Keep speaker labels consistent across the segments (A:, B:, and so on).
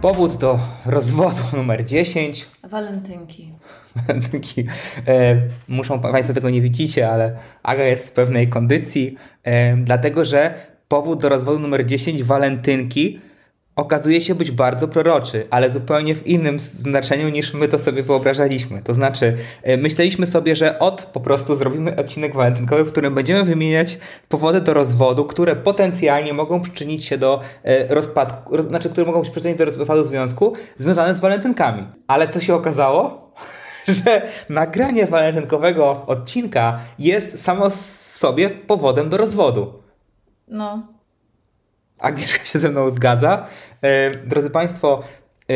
A: Powód do rozwodu numer 10.
B: Walentynki.
A: Taki, e, muszą Państwo tego nie widzicie, ale Aga jest w pewnej kondycji, e, dlatego że powód do rozwodu numer 10, walentynki, okazuje się być bardzo proroczy, ale zupełnie w innym znaczeniu niż my to sobie wyobrażaliśmy. To znaczy, e, myśleliśmy sobie, że od po prostu zrobimy odcinek walentynkowy, w którym będziemy wymieniać powody do rozwodu, które potencjalnie mogą przyczynić się do e, rozpadku, roz, znaczy, które mogą się przyczynić do rozpadu związku związane z walentynkami. Ale co się okazało? że nagranie walentynkowego odcinka jest samo s- w sobie powodem do rozwodu.
B: No,
A: Agnieszka się ze mną zgadza. E, Drodzy Państwo, e,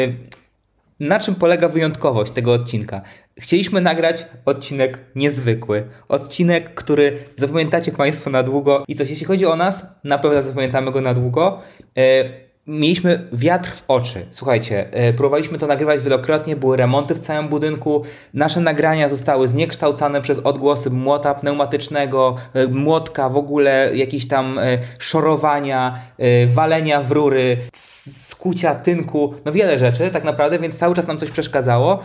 A: na czym polega wyjątkowość tego odcinka? Chcieliśmy nagrać odcinek niezwykły. Odcinek, który zapamiętacie Państwo na długo. I coś, jeśli chodzi o nas, na pewno zapamiętamy go na długo. E, Mieliśmy wiatr w oczy. Słuchajcie, e, próbowaliśmy to nagrywać wielokrotnie, były remonty w całym budynku. Nasze nagrania zostały zniekształcane przez odgłosy młota pneumatycznego, e, młotka w ogóle, jakieś tam e, szorowania, e, walenia w rury, c- skucia tynku, no wiele rzeczy tak naprawdę, więc cały czas nam coś przeszkadzało.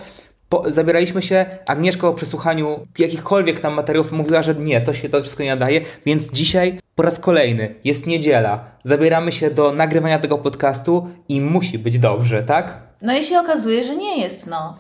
A: Po, zabieraliśmy się, Agnieszka o przesłuchaniu jakichkolwiek tam materiałów mówiła, że nie, to się to wszystko nie nadaje, więc dzisiaj po raz kolejny jest niedziela. Zabieramy się do nagrywania tego podcastu i musi być dobrze, tak?
B: No i się okazuje, że nie jest, no.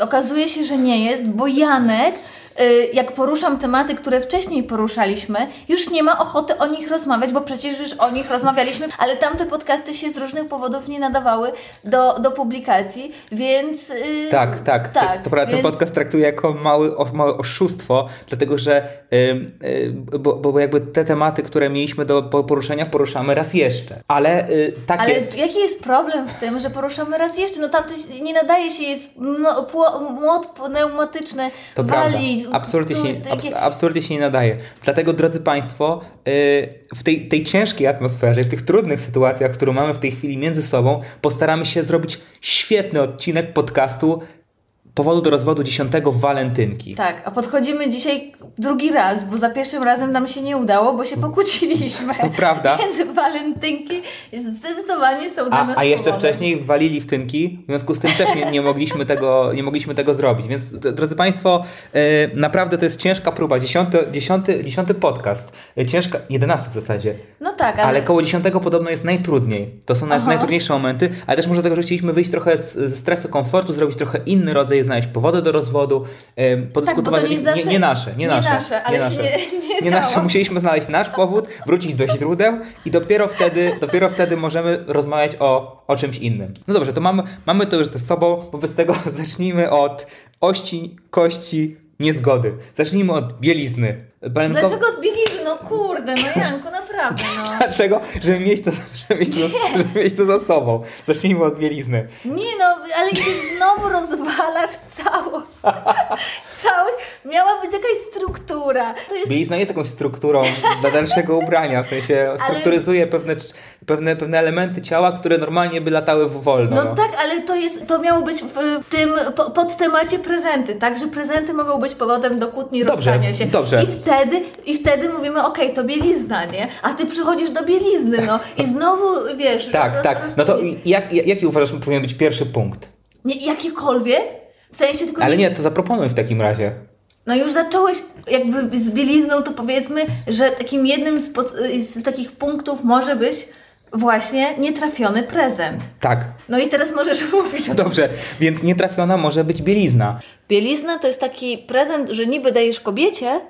B: Okazuje się, że nie jest, bo Janek, y, jak poruszam tematy, które wcześniej poruszaliśmy, już nie ma ochoty o nich rozmawiać, bo przecież już o nich rozmawialiśmy, ale tamte podcasty się z różnych powodów nie nadawały do, do publikacji, więc. y,
A: Tak, tak.
B: tak.
A: to, to prawda, ten
B: więc-
A: podcast traktuję jako mały, o, małe oszustwo, dlatego że ym, y, bo, bo jakby te tematy, które mieliśmy do po- poruszenia, poruszamy raz jeszcze. Ale y, tak
B: Ale
A: jest.
B: jaki jest problem w tym, że poruszamy raz jeszcze? No tamto się- nie nadaje się, jest no, pło- młot pneumatyczny,
A: To
B: wali.
A: prawda. Absolutnie
B: tu-
A: się, nie- abs,
B: takie-
A: absolutnie się nie nadaje. Dlatego, drodzy Państwo, yy, w tej, tej ciężkiej atmosferze, w tych trudnych sytuacjach, które mamy w tej chwili między sobą, postaramy się zrobić świetny odcinek podcastu Powodu do rozwodu 10 Walentynki.
B: Tak, a podchodzimy dzisiaj drugi raz, bo za pierwszym razem nam się nie udało, bo się pokłóciliśmy.
A: To prawda.
B: Więc walentynki zdecydowanie są dla nas
A: A, a jeszcze
B: powodem.
A: wcześniej walili w tynki, w związku z tym też nie, nie, mogliśmy, tego, nie mogliśmy tego zrobić. Więc d- drodzy Państwo, yy, naprawdę to jest ciężka próba. Dziesiąty, dziesiąty, dziesiąty podcast. Yy, Ciężka, jedenasty w zasadzie.
B: No tak, ale,
A: Ale koło 10 podobno jest najtrudniej. To są nas
B: Aha.
A: najtrudniejsze momenty, ale też może dlatego, że chcieliśmy wyjść trochę z, ze strefy komfortu, zrobić trochę inny rodzaj, znaleźć powody do rozwodu, em,
B: tak, bo
A: podyskutować.
B: to nie,
A: nie,
B: zawsze,
A: nie nasze, nie, nasze.
B: ale się
A: nasze.
B: nie, nie,
A: Nie
B: dało.
A: nasze, musieliśmy znaleźć nasz powód, wrócić do źródeł i dopiero wtedy, dopiero wtedy możemy rozmawiać o, o czymś innym. No dobrze, to mamy, mamy to już ze sobą, wobec tego zacznijmy od ości, kości, niezgody. Zacznijmy od bielizny. Balenko-
B: Dlaczego odbiegli? No kurde, no Janku, naprawdę no.
A: Dlaczego? Żeby mieć to, żeby mieć to, za, żeby mieć to za sobą. Zacznijmy od bielizny.
B: Nie no, ale ty znowu rozwalasz całość. całość. Miała być jakaś struktura. To jest
A: Bielizna jest jakąś strukturą dla dalszego ubrania, w sensie strukturyzuje pewne, pewne, pewne elementy ciała, które normalnie by latały w wolno.
B: No tak, ale to, jest, to miało być w, w tym po, pod temacie prezenty, tak? Że prezenty mogą być powodem do kłótni
A: Dobrze,
B: rozstania się.
A: dobrze.
B: I wtedy, I wtedy mówimy, okej, to bielizna, nie? A ty przychodzisz do bielizny, no i znowu wiesz.
A: tak,
B: roz-
A: tak. No to
B: rozkmin-
A: jak, jak, jaki uważasz powinien być pierwszy punkt?
B: Nie, jakikolwiek? W sensie tylko.
A: Ale nie, to zaproponuj w takim razie.
B: No już zacząłeś jakby z bielizną, to powiedzmy, że takim jednym z, pos- z takich punktów może być właśnie nietrafiony prezent.
A: Tak.
B: No i teraz możesz mówić o
A: Dobrze, więc nietrafiona może być bielizna.
B: Bielizna to jest taki prezent, że niby dajesz kobiecie,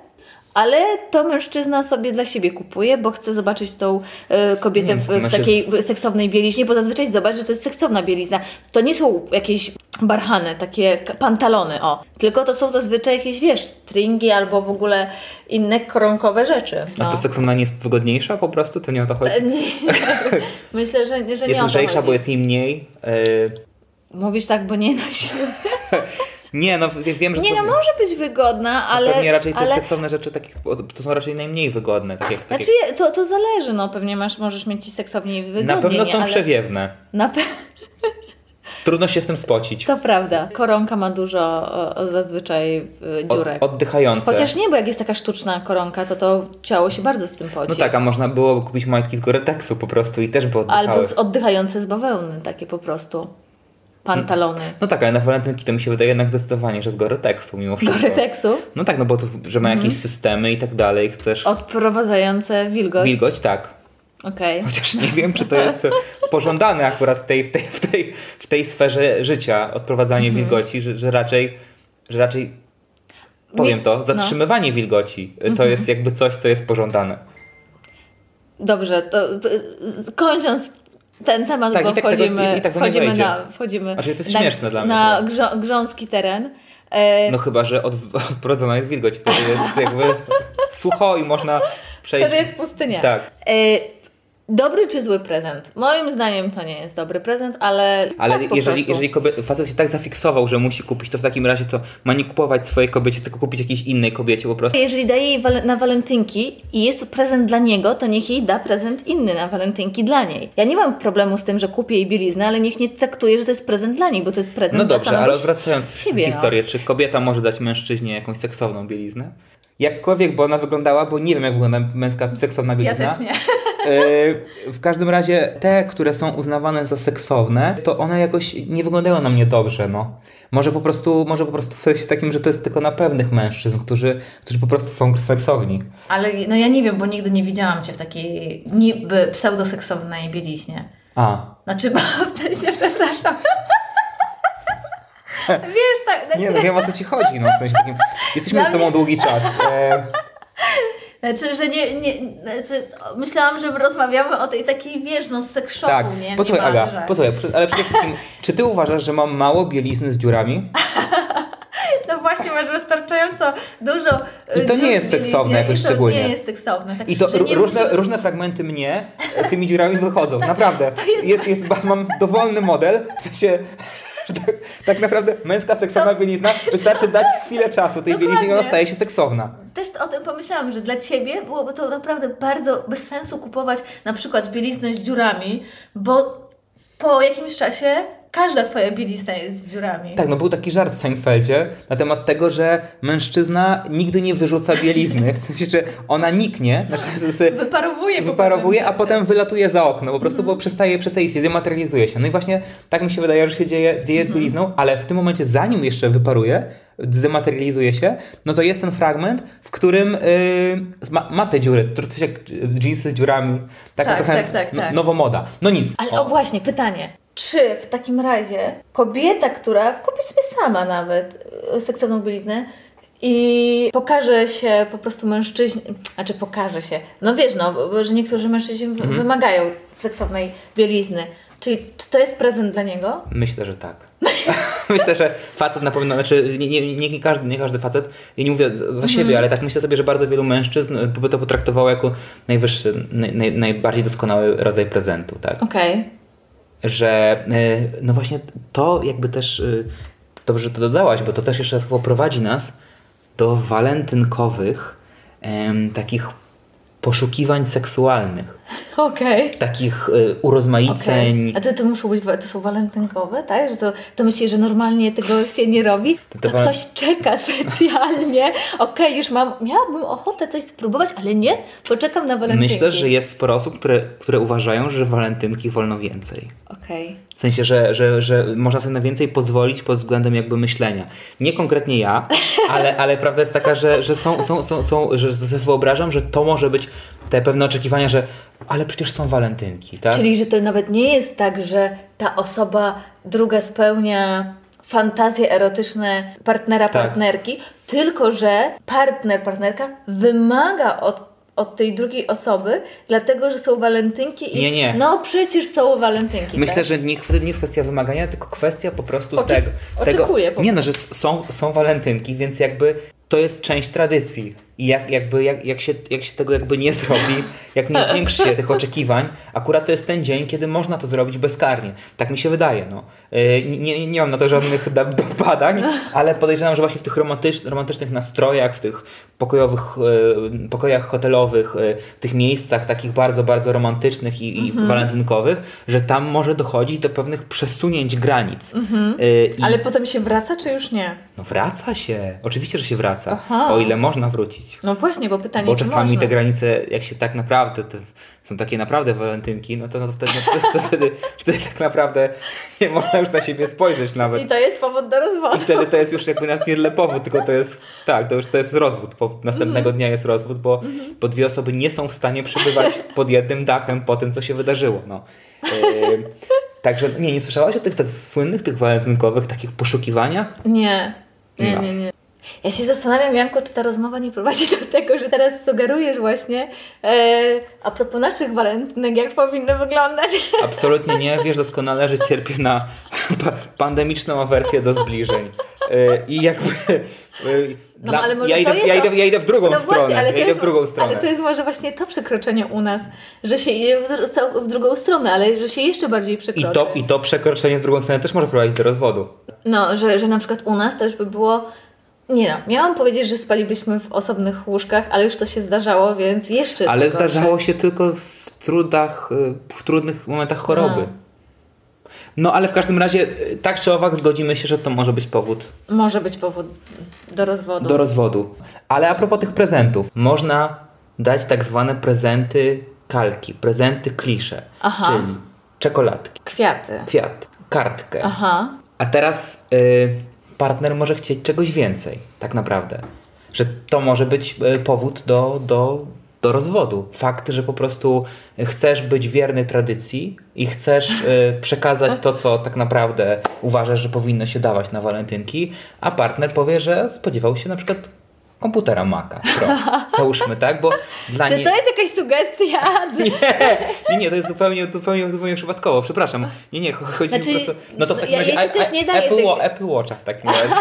B: ale to mężczyzna sobie dla siebie kupuje, bo chce zobaczyć tą e, kobietę w, w
A: znaczy-
B: takiej seksownej bieliźnie, bo zazwyczaj zobacz, że to jest seksowna bielizna. To nie są jakieś barhany, takie k- pantalony, o. Tylko to są zazwyczaj jakieś, wiesz, stringi albo w ogóle inne koronkowe rzeczy.
A: A
B: No. E,
A: to seksowna nie jest wygodniejsza po prostu? To nie o to chodzi?
B: Myślę, że, że nie
A: Jest
B: o to
A: lżejsza,
B: chodzi.
A: bo jest jej mniej. Yy,
B: Mówisz tak, bo nie na siebie.
A: Nie, no wie- wiem, że
B: Nie,
A: to,
B: no może być wygodna, ale...
A: pewnie raczej te
B: ale...
A: seksowne rzeczy takich, to są raczej najmniej wygodne. Takie, takie,
B: Znaczy, je- to, to zależy, no pewnie masz, możesz mieć ci seksowniej i wygodniej,
A: na pewno
B: nie,
A: są
B: ale...
A: przewiewne.
B: Na pe...
A: Trudno się z tym spocić.
B: To prawda. Koronka ma dużo o, o, zazwyczaj e,
A: Od,
B: dziurek.
A: oddychające. No
B: Chociaż nie, bo jak jest taka sztuczna koronka, to to ciało się bardzo w tym poci.
A: No tak, a można było kupić majtki z Goreteksu po prostu i też by oddychały.
B: Albo z oddychające z bawełny, takie po prostu. Pantalony.
A: No tak, ale na walentynki to mi się wydaje jednak zdecydowanie, że z Goreteksu mimo wszystko.
B: Goreteksu
A: No tak, no bo to, że
B: Mhm.
A: ma jakieś systemy i tak dalej, chcesz...
B: odprowadzające wilgoć.
A: Wilgoć, tak.
B: Okej.
A: Chociaż nie wiem, czy to jest pożądane akurat w tej, w tej, w tej, w tej sferze życia, odprowadzanie
B: Mhm.
A: wilgoci, że, że raczej, że raczej powiem
B: Mi-
A: to, zatrzymywanie wilgoci y, to
B: Mhm.
A: jest jakby coś, co jest pożądane.
B: Dobrze, to y, y, kończąc ten temat,
A: Tak,
B: bo
A: i tak tego-
B: wchodzimy,
A: i- i tak to nie
B: wchodzimy,
A: wejdzie.
B: na, wchodzimy
A: Znaczy, to jest
B: na,
A: śmieszne dla mnie,
B: na
A: że-
B: grzo- grząski teren. E,
A: No chyba, że od, odprowadzona jest wilgoć, wtedy jest jakby sucho i można przejść...
B: Wtedy jest pustynia.
A: Tak.
B: E, dobry czy zły prezent? Moim zdaniem to nie jest dobry prezent, ale.
A: Ale
B: tak po
A: jeżeli,
B: prostu.
A: jeżeli kobiet, facet się tak zafiksował, że musi kupić, to w takim razie to ma nie kupować swojej kobiecie, tylko kupić jakiejś innej kobiecie po prostu.
B: Jeżeli daje jej wale- na walentynki i jest to prezent dla niego, to niech jej da prezent inny na walentynki dla niej. Ja nie mam problemu z tym, że kupię jej bieliznę, ale niech nie traktuje, że to jest prezent dla niej, bo to jest prezent
A: No
B: dla
A: dobrze,
B: samego
A: ale wracając w
B: siebie, no.
A: historię, czy kobieta może dać mężczyźnie jakąś seksowną bieliznę? Jakkolwiek, bo ona wyglądała, bo nie wiem, jak wygląda męska seksowna bielizna. E, W każdym razie te, które są uznawane za seksowne, to one jakoś nie wyglądają na mnie dobrze, no. Może po prostu, może po prostu w sensie takim, że to jest tylko na pewnych mężczyzn, którzy, którzy po prostu są seksowni.
B: Ale no ja nie wiem, bo nigdy nie widziałam cię w takiej niby pseudoseksownej bieliźnie.
A: A,
B: Znaczy, bawtę się, przepraszam. Wiesz, tak,
A: nie no, wiem o co ci chodzi, no w sensie takim, jesteśmy
B: Dla
A: z sobą długi czas. E, no.
B: Znaczy, że nie, nie znaczy, o, myślałam, że rozmawiamy o tej takiej, wiesz, no z sekszopu,
A: tak,
B: nie?
A: posłuchaj
B: Niemalże.
A: Aga, posłuchaj, prze- ale przede wszystkim, czy ty uważasz, że mam mało bielizny z dziurami?
B: No właśnie, masz wystarczająco dużo
A: I to
B: y,
A: nie
B: dziur
A: jest
B: w bieliźnie
A: seksowne jakoś
B: i to
A: szczególnie.
B: nie jest seksowne. Tak,
A: I to
B: że
A: ró-
B: nie
A: różne,
B: musi- Tak,
A: różne fragmenty mnie e, tymi dziurami wychodzą. Naprawdę.
B: jest-
A: Jest, jest, ba- mam dowolny model. W sensie, że tak, tak naprawdę męska seksowna bielizna wystarczy dać chwilę czasu tej bieliźnie i ona
B: Dokładnie.
A: staje się seksowna.
B: Też o tym pomyślałam, że dla Ciebie byłoby to naprawdę bardzo bez sensu kupować na przykład bieliznę z dziurami, bo po jakimś czasie każda Twoja bielizna jest z dziurami.
A: Tak, no był taki żart w Seinfeldzie na temat tego, że mężczyzna nigdy nie wyrzuca bielizny. W sensie, że ona niknie, znaczy że sobie
B: Wyparowuje po
A: wyparowuje,
B: prostu. Mhm.
A: a potem wylatuje za okno, po prostu, bo przestaje, przestaje się, dematerializuje się. No i właśnie tak mi się wydaje, że się dzieje, dzieje z
B: Mhm.
A: bielizną, ale w tym momencie, zanim jeszcze wyparuje, zdematerializuje się, no to jest ten fragment, w którym yy, ma, ma te dziury, tr- coś jak y, jeansy z dziurami, taka
B: Tak,
A: trochę
B: tak, tak,
A: no-
B: tak.
A: nowomoda. No nic.
B: Ale
A: O.
B: o właśnie, pytanie. Czy w takim razie kobieta, która kupi sobie sama nawet y, seksowną bieliznę i pokaże się po prostu mężczyźnie, znaczy pokaże się, no wiesz, no, bo- że niektórzy mężczyźni w- wymagają seksownej bielizny. Czyli czy to jest prezent dla niego?
A: Myślę, że tak. myślę, że facet na pewno, znaczy nie, nie, nie, nie, każdy, nie każdy facet, ja nie mówię za za siebie, ale tak myślę sobie, że bardzo wielu mężczyzn y, by to potraktowało jako najwyższy, naj, naj, najbardziej doskonały rodzaj prezentu, tak?
B: Okej.
A: że y, no właśnie to jakby też y, dobrze że to dodałaś, bo to też jeszcze dodatkowo prowadzi nas do walentynkowych em, takich poszukiwań seksualnych,
B: Okej.
A: takich y, urozmaiceń.
B: Okej. A to, to muszą być, wa- to są walentynkowe, tak? Że to, to myślisz, że normalnie tego się nie robi? To,
A: to walen-
B: ktoś czeka specjalnie. Okej, już mam, miałabym ochotę coś spróbować, ale nie, poczekam na walentynki.
A: Myślę, że jest sporo osób, które, które uważają, że walentynki wolno więcej.
B: Okej.
A: W sensie, że, że, że można sobie na więcej pozwolić pod względem jakby myślenia. Nie konkretnie ja, ale, ale prawda jest taka, że, że są, są, są, są, że sobie wyobrażam, że to może być te pewne oczekiwania, że ale przecież są walentynki, tak?
B: Czyli, że to nawet nie jest tak, że ta osoba druga spełnia fantazje erotyczne partnera,
A: Tak.
B: partnerki, tylko że partner, partnerka wymaga od od tej drugiej osoby, dlatego że są walentynki i...
A: Nie, nie.
B: No przecież są walentynki,
A: Myślę,
B: tak?
A: że nie, wtedy nie jest kwestia wymagania, tylko kwestia po prostu
B: Oczy-
A: tego.
B: oczekuję
A: tego.
B: po
A: Nie no, że s- są, są walentynki, więc jakby to jest część tradycji. I jak, jakby, jak, jak, się, jak się tego jakby nie zrobi, jak nie zwiększy się tych oczekiwań, akurat to jest ten dzień, kiedy można to zrobić bezkarnie. Tak mi się wydaje. No. Yy, Nie, nie, nie mam na to żadnych da- badań, ale podejrzewam, że właśnie w tych romantycz, romantycznych nastrojach, w tych pokojowych, yy, pokojach hotelowych, yy, w tych miejscach takich bardzo, bardzo romantycznych i, i walentynkowych, że tam może dochodzić do pewnych przesunięć granic. Yy, i-
B: Ale potem się wraca, czy już nie?
A: no wraca się. Oczywiście, że się wraca.
B: Aha.
A: O ile można wrócić.
B: No właśnie, bo pytanie,
A: Bo
B: czy
A: czasami
B: można?
A: te granice, jak się tak naprawdę, te, są takie naprawdę walentynki, no to, no to, wtedy, to, to wtedy, wtedy tak naprawdę nie można już na siebie spojrzeć nawet.
B: I to jest powód do rozwodu.
A: I wtedy to jest już jakby nawet nie tyle powód, tylko to jest, tak, to już to jest rozwód. Po, następnego
B: Mhm.
A: dnia jest rozwód, bo, bo dwie osoby nie są w stanie przebywać pod jednym dachem po tym, co się wydarzyło. No. Yy, także nie, nie słyszałaś o tych tak słynnych, tych walentynkowych, takich poszukiwaniach?
B: Nie. Nie,
A: No.
B: nie, nie. Ja się zastanawiam, Janko, czy ta rozmowa nie prowadzi do tego, że teraz sugerujesz właśnie e, a propos naszych walentynek, jak powinny wyglądać.
A: Absolutnie nie. Wiesz doskonale, że cierpię na pa- pandemiczną awersję do zbliżeń. Y, I jakby. y,
B: No,
A: dla-
B: ale może
A: ja,
B: to
A: idę,
B: jest
A: ja,
B: to-
A: idę, ja idę w drugą
B: no
A: stronę.
B: właśnie, ale to
A: ja idę
B: jest,
A: w drugą stronę.
B: Ale to jest może właśnie to przekroczenie u nas, że się idzie w, dru- cał- w drugą stronę, ale że się jeszcze bardziej
A: I,
B: przekroczy.
A: to, I to przekroczenie w drugą stronę też może prowadzić do rozwodu.
B: No, że, że na przykład u nas to już by było... Nie no, miałam powiedzieć, że spalibyśmy w osobnych łóżkach, ale już to się zdarzało, więc jeszcze
A: Ale
B: tylko, że-
A: zdarzało się tylko w trudach, y, w trudnych momentach choroby. No ale w każdym razie, y, tak czy owak, zgodzimy się, że to może być powód
B: Może być powód do rozwodu.
A: do rozwodu. Ale a propos tych prezentów, można dać tak zwane prezenty kalki, prezenty klisze,
B: Aha.
A: czyli czekoladki,
B: Kwiaty.
A: kwiat, kartkę.
B: Aha.
A: A teraz y, partner może chcieć czegoś więcej, tak naprawdę. Że to może być y, powód do, do, do rozwodu. Fakt, że po prostu chcesz być wierny tradycji i chcesz y, przekazać to, co tak naprawdę uważasz, że powinno się dawać na walentynki, a partner powie, że spodziewał się na przykład komputera Maca Pro. Załóżmy, tak? Bo dla
B: Czy
A: niej...
B: to jest jakaś sugestia?
A: Nie, nie, nie, to jest zupełnie, zupełnie, zupełnie przypadkowo, przepraszam. Nie, nie, cho- chodzi
B: Znaczy,
A: mi po prostu... No to w takim
B: ja-
A: razie
B: ja się
A: a-
B: też
A: a-
B: nie daję
A: Apple,
B: tych-
A: Wa- Apple Watcha w takim razie,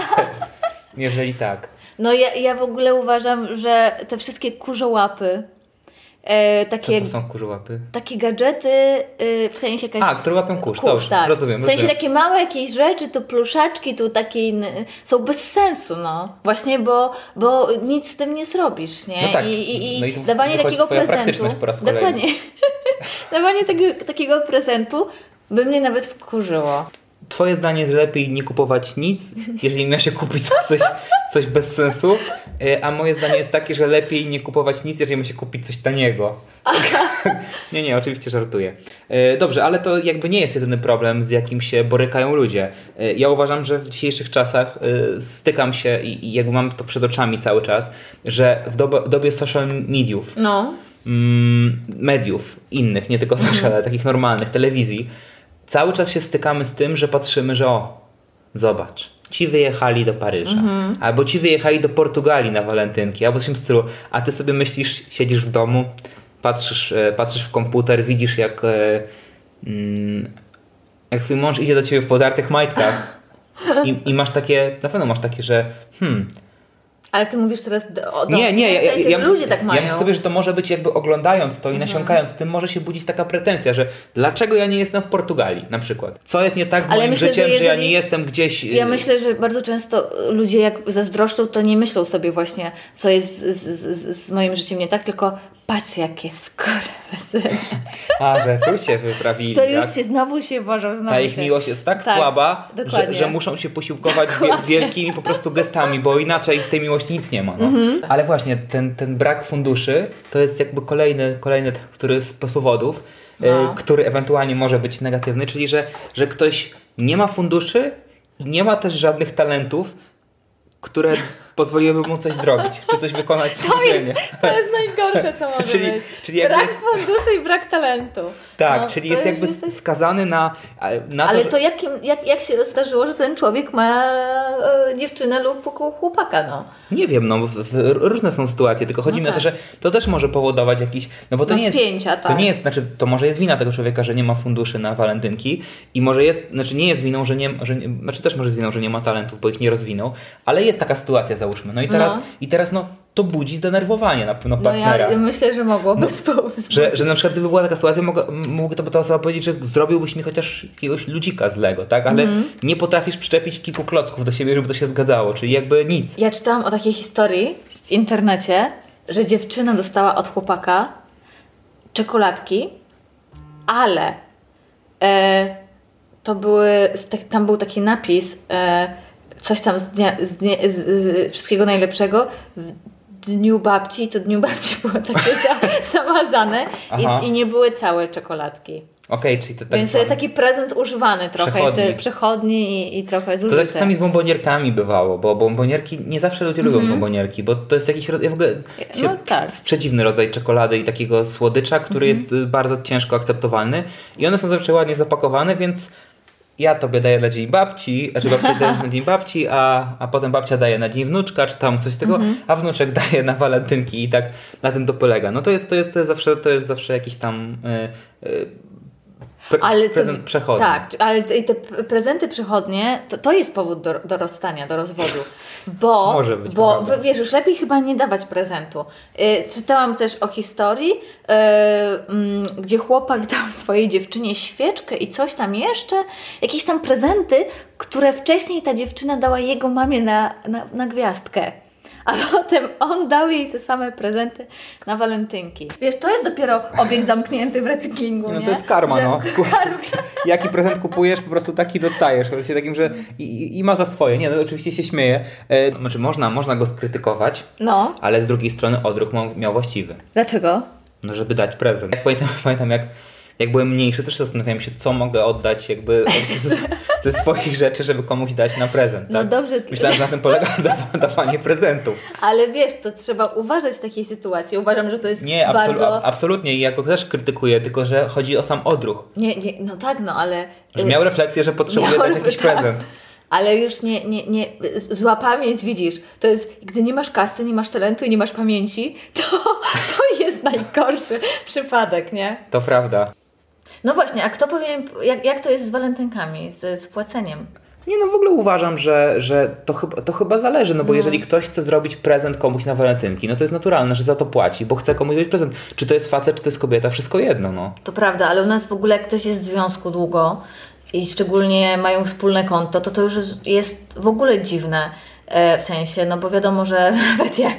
A: jeżeli tak.
B: No ja, ja w ogóle uważam, że te wszystkie kurzołapy, e,
A: Co
B: takie,
A: to są kurzołapy?
B: takie gadżety, e, w sensie jakaś...
A: A, które łapią kurz, dobrze,
B: tak.
A: rozumiem,
B: W sensie
A: rozumiem.
B: takie małe jakieś rzeczy, tu pluszaczki, tu takie inne, są bez sensu, no. Właśnie, bo, bo nic z tym nie zrobisz, nie?
A: No tak.
B: I, i, i
A: No i tu
B: dawanie
A: wychodzi
B: takiego
A: twoja
B: prezentu...
A: praktyczność po raz kolejny.
B: Dokładnie. dawanie tego, takiego prezentu by mnie nawet wkurzyło.
A: Twoje zdanie jest, że lepiej nie kupować nic, jeżeli miał się kupić coś, coś bez sensu, e, a moje zdanie jest takie, że lepiej nie kupować nic, jeżeli ma się kupić coś taniego. nie, nie, oczywiście żartuję. E, Dobrze, ale to jakby nie jest jedyny problem, z jakim się borykają ludzie. E, Ja uważam, że w dzisiejszych czasach e, stykam się i i jakby mam to przed oczami cały czas, że w dobo- dobie social mediów
B: No.
A: mm, mediów innych, nie tylko social, ale takich normalnych, telewizji, cały czas się stykamy z tym, że patrzymy, że o, zobacz, ci wyjechali do Paryża, albo ci wyjechali do Portugalii na walentynki, albo coś w tym stylu, a ty sobie myślisz, siedzisz w domu, patrzysz, e, patrzysz w komputer, widzisz jak, e, mm, jak twój mąż idzie do ciebie w podartych majtkach i, i masz takie, na pewno masz takie, że hmm,
B: Ale ty mówisz teraz do, o
A: nie,
B: do-
A: nie, ja,
B: w sensie,
A: ja, ja,
B: że ludzie tak mają. Mhm.
A: ja myślę sobie, że to może być jakby oglądając to i nasiąkając tym, może się budzić taka pretensja, że dlaczego ja nie jestem w Portugalii na przykład? Co jest nie tak z
B: Ale
A: moim
B: myślę, że
A: życiem, że, ja
B: jeżeli-
A: nie jestem gdzieś... y,
B: Ja myślę, że bardzo często ludzie jak zazdroszczą, to nie myślą sobie właśnie, co jest z, z, z, z moim życiem nie tak, tylko patrz jakie skurwysyny.
A: y, A, że tu się wyprawili,
B: To już
A: tak?
B: się znowu się wożą, znowu
A: Ta ich
B: się.
A: miłość jest tak,
B: Tak,
A: słaba, że,
B: dokładnie.
A: że muszą się posiłkować wie, wielkimi po prostu gestami, bo inaczej w tej miłości nic nie ma. No.
B: Mhm.
A: Ale właśnie ten, ten brak funduszy to jest jakby kolejny, kolejny t- który z powodów, e,
B: No.
A: który ewentualnie może być negatywny, czyli że, że ktoś nie ma funduszy i nie ma też żadnych talentów, które pozwoliłyby mu coś zrobić, czy coś wykonać samodzielnie.
B: To jest najgorsze. najgorsze, co może
A: Czyli-
B: być.
A: czyli jakby
B: brak
A: jest-
B: funduszy i brak talentu.
A: Tak,
B: No,
A: czyli
B: to
A: jest
B: już
A: jakby skazany na, na to,
B: Ale
A: że-
B: to jak, im- jak, jak się zdarzyło, że ten człowiek ma e, dziewczynę lub chłopaka, no.
A: Nie wiem, no w, w, różne są sytuacje, tylko chodzi
B: No
A: mi o to,
B: tak.
A: że to też może powodować jakiś, no bo to
B: No
A: nie jest,
B: spięcia,
A: to
B: tak.
A: nie jest, znaczy to może jest wina tego człowieka, że nie ma funduszy na walentynki i może jest, znaczy nie jest winą, że nie, że, nie- znaczy też może jest winą, że nie ma talentów, bo ich nie rozwinął, ale jest taka sytuacja załóżmy, no i teraz,
B: No.
A: i teraz no to budzi zdenerwowanie na pewno
B: No
A: partnera.
B: ja myślę, że mogłoby no, spółdzić.
A: Że, że na przykład gdyby była taka sytuacja, mogła- mógłby to by ta osoba powiedzieć, że zrobiłbyś mi chociaż jakiegoś ludzika z Lego, tak? Ale
B: Mhm.
A: nie potrafisz przyczepić kilku klocków do siebie, żeby to się zgadzało, czyli jakby nic.
B: Ja czytałam o takiej historii w internecie, że dziewczyna dostała od chłopaka czekoladki, ale e, to były, tak, tam był taki napis, e, coś tam z, dnia, z, dnie, z, z wszystkiego najlepszego w dniu babci, to dniu babci było takie za, zamazane
A: Aha.
B: i, i nie były całe czekoladki.
A: Okej, czyli to tak
B: Więc to jest
A: zwane.
B: taki prezent używany trochę,
A: Przechodni.
B: jeszcze przechodni i, i trochę
A: To
B: zużyty.
A: tak czasami z bombonierkami bywało, bo bombonierki, nie zawsze ludzie lubią bombonierki, bo to jest jakiś, ro- ja w ogóle,
B: Mhm. No
A: się,
B: tak. Mhm.
A: z przeciwny rodzaj czekolady i takiego słodycza, który jest y, bardzo ciężko akceptowalny i one są zawsze ładnie zapakowane, więc ja tobie daję na dzień babci, znaczy babcia daje na dzień babci, a, a potem babcia daje na dzień wnuczka, czy tam coś z tego,
B: Mhm.
A: a wnuczek daje na walentynki i tak na tym to polega. No to jest, to jest, to jest zawsze, to jest zawsze jakiś tam y, y, pre,
B: Ale co-
A: prezent przechodni.
B: Tak, czy- ale te, te prezenty przechodnie, to, to jest powód do, do rozstania, do rozwodu. Bo,
A: Może być,
B: bo
A: naprawdę.
B: w- wiesz, już lepiej chyba nie dawać prezentu. Y, czytałam też o historii, y, mm, gdzie chłopak dał swojej dziewczynie świeczkę i coś tam jeszcze, jakieś tam prezenty, które wcześniej ta dziewczyna dała jego mamie na, na, na gwiazdkę. A potem on dał jej te same prezenty na walentynki. Wiesz, to jest dopiero obieg zamknięty w recyklingu,
A: No
B: nie?
A: to jest karma,
B: Że-
A: no.
B: Karma.
A: Jaki prezent kupujesz, po prostu taki dostajesz. W sensie takim, że i- i, i ma za swoje. Nie, no, oczywiście się śmieje. E, znaczy, można, można go skrytykować,
B: No.
A: ale z drugiej strony odruch miał, miał właściwy.
B: Dlaczego?
A: No, żeby dać prezent. Jak pamiętam, pamiętam jak, jak byłem mniejszy, też zastanawiałem się, co mogę oddać jakby od- ze, ze swoich rzeczy, żeby komuś dać na prezent.
B: No
A: tak?
B: dobrze, ty-
A: Myślałem, że na tym polega dawa- dawanie prezentów.
B: Ale wiesz, to trzeba uważać w takiej sytuacji. Uważam, że to jest
A: Nie, absolu-
B: bardzo...
A: absolutnie. I ja go też krytykuję, tylko że chodzi o sam odruch.
B: Nie, nie, no tak, no ale...
A: Że miał refleksję, że potrzebuje dać
B: Miałem-
A: jakiś
B: tak.
A: prezent.
B: Ale już nie, nie, nie, z- zła pamięć widzisz. To jest, gdy nie masz kasy, nie masz talentu i nie masz pamięci, to, to jest najgorszy przypadek, nie?
A: To prawda.
B: No właśnie, a kto powinien, jak, jak to jest z walentynkami, z, z płaceniem?
A: Nie no, w ogóle uważam, że, że to, chyba, to chyba zależy, no bo jeżeli ktoś chce zrobić prezent komuś na walentynki, no to jest naturalne, że za to płaci, bo chce komuś zrobić prezent. Czy to jest facet, czy to jest kobieta, wszystko jedno, no.
B: To prawda, ale u nas w ogóle jak ktoś jest w związku długo i szczególnie mają wspólne konto, to to już jest w ogóle dziwne e, w sensie, no bo wiadomo, że nawet jak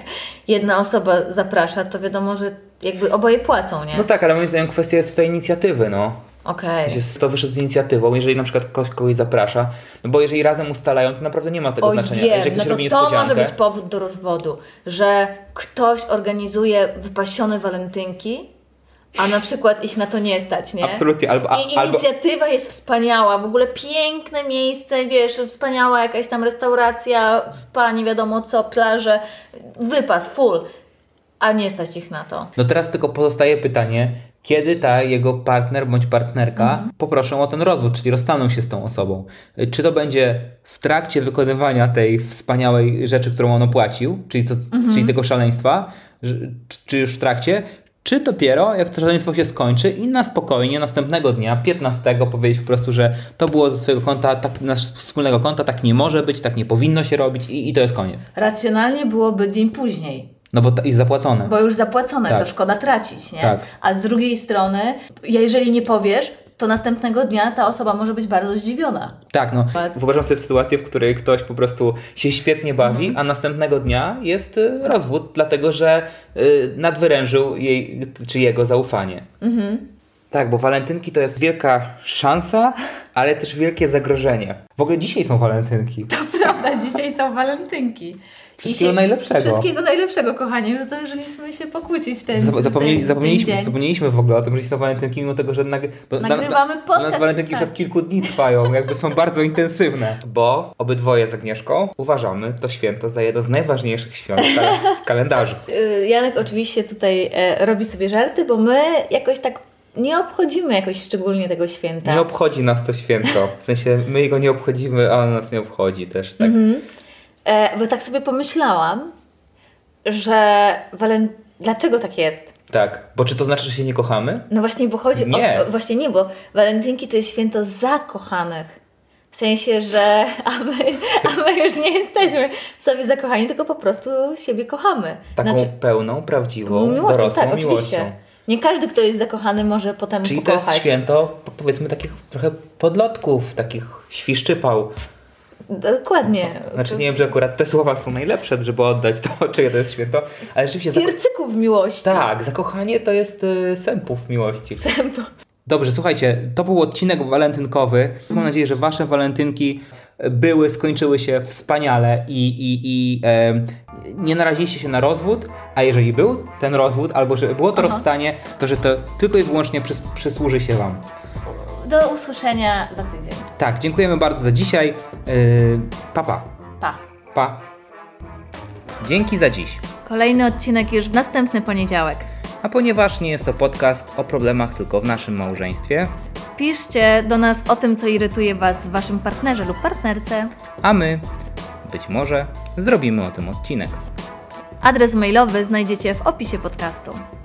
B: jedna osoba zaprasza, to wiadomo, że jakby oboje płacą, nie?
A: No tak, ale moim zdaniem kwestia jest tutaj inicjatywy, no.
B: Okej.
A: Jest to wyszedł z inicjatywą, jeżeli na przykład ktoś kogoś zaprasza, no bo jeżeli razem ustalają, to naprawdę nie ma tego
B: Oj,
A: znaczenia.
B: wiem,
A: jeżeli ktoś
B: no
A: robi
B: to, to
A: niespodziankę,
B: może być powód do rozwodu, że ktoś organizuje wypasione walentynki, a na przykład ich na to nie stać, nie?
A: Absolutnie, albo- a-
B: I
A: albo-
B: inicjatywa jest wspaniała, w ogóle piękne miejsce, wiesz, wspaniała jakaś tam restauracja, spa, nie wiadomo co, plaże, wypas, full, a nie stać ich na to.
A: No teraz tylko pozostaje pytanie, kiedy ta jego partner bądź partnerka poproszą o ten rozwód, czyli rozstaną się z tą osobą. Czy to będzie w trakcie wykonywania tej wspaniałej rzeczy, którą on opłacił, czyli, to, czyli tego szaleństwa, że- czy- czy już w trakcie, czy dopiero jak to szaleństwo się skończy i na spokojnie następnego dnia, 15, powiedzieć po prostu, że to było ze swojego konta, tak, nasz wspólnego konta, tak nie może być, tak nie powinno się robić i, i to jest koniec.
B: Racjonalnie byłoby dzień później,
A: No bo to jest zapłacone.
B: Bo już zapłacone,
A: Tak.
B: to szkoda tracić, nie?
A: Tak.
B: A z drugiej strony, jeżeli nie powiesz, to następnego dnia ta osoba może być bardzo zdziwiona.
A: Tak, no.
B: Bardzo.
A: Wyobrażam sobie sytuację, w której ktoś po prostu się świetnie bawi, a następnego dnia jest y, rozwód, dlatego że y, nadwyrężył jej czy jego zaufanie. Tak, bo walentynki to jest wielka szansa, ale też wielkie zagrożenie. W ogóle dzisiaj są walentynki.
B: prawda? Dzisiaj są walentynki. I
A: Wszystkiego
B: się-
A: najlepszego.
B: Wszystkiego najlepszego, kochani. Zdążyliśmy się pokłócić w ten,
A: Zap-
B: w
A: Zapomnieli,
B: ten,
A: zapomnieliśmy,
B: ten dzień.
A: zapomnieliśmy w ogóle o tym, że są walentynki, mimo tego, że nag... bo na-
B: Nagrywamy
A: na,
B: podcast,
A: Nas walentynki
B: tak.
A: już od kilku dni trwają, jakby są bardzo intensywne. Bo obydwoje z Agnieszką uważamy to święto za jedno z najważniejszych świąt tak, w kalendarzu.
B: Y, Janek oczywiście tutaj e, robi sobie żarty, bo my jakoś tak nie obchodzimy jakoś szczególnie tego święta.
A: Nie obchodzi nas to święto. W sensie my go nie obchodzimy, a on nas nie obchodzi też. Tak.
B: Mhm. E, bo tak sobie pomyślałam, że walen... dlaczego tak jest?
A: tak. Bo czy to znaczy, że się nie kochamy?
B: No właśnie, bo chodzi
A: Nie.
B: o, o... Właśnie nie, bo walentynki to jest święto zakochanych. W sensie, że a my, a my już nie jesteśmy w sobie zakochani, tylko po prostu siebie kochamy.
A: Taką
B: Znaczy,
A: pełną, prawdziwą,
B: miłością,
A: dorosłą
B: tak,
A: miłością.
B: oczywiście. Nie każdy, kto jest zakochany, może potem
A: Czyli to
B: pokochać.
A: jest święto, po- powiedzmy, takich trochę podlotków, takich świszczypał.
B: Dokładnie.
A: Znaczy nie wiem, że akurat te słowa są najlepsze, żeby oddać to, czyje to jest święto, ale rzeczywiście... Zako-
B: Piercyków miłości.
A: tak, zakochanie to jest y, sępów miłości.
B: Tempo.
A: Dobrze, słuchajcie, to był odcinek walentynkowy. Mam nadzieję, że wasze walentynki e, były, skończyły się wspaniale i, i, i em, nie naraziliście się na rozwód, a jeżeli był ten rozwód, albo że było to
B: Aha.
A: rozstanie, to że to tylko i wyłącznie przys- przysłuży się wam.
B: Do usłyszenia za tydzień.
A: Tak, dziękujemy bardzo za dzisiaj. Yy, pa, pa,
B: Pa.
A: pa. Dzięki za dziś.
B: Kolejny odcinek już w następny poniedziałek.
A: A ponieważ nie jest to podcast o problemach tylko w naszym małżeństwie,
B: Piszcie do nas o tym, co irytuje Was w Waszym partnerze lub partnerce.
A: a my być może zrobimy o tym odcinek.
B: Adres mailowy znajdziecie w opisie podcastu.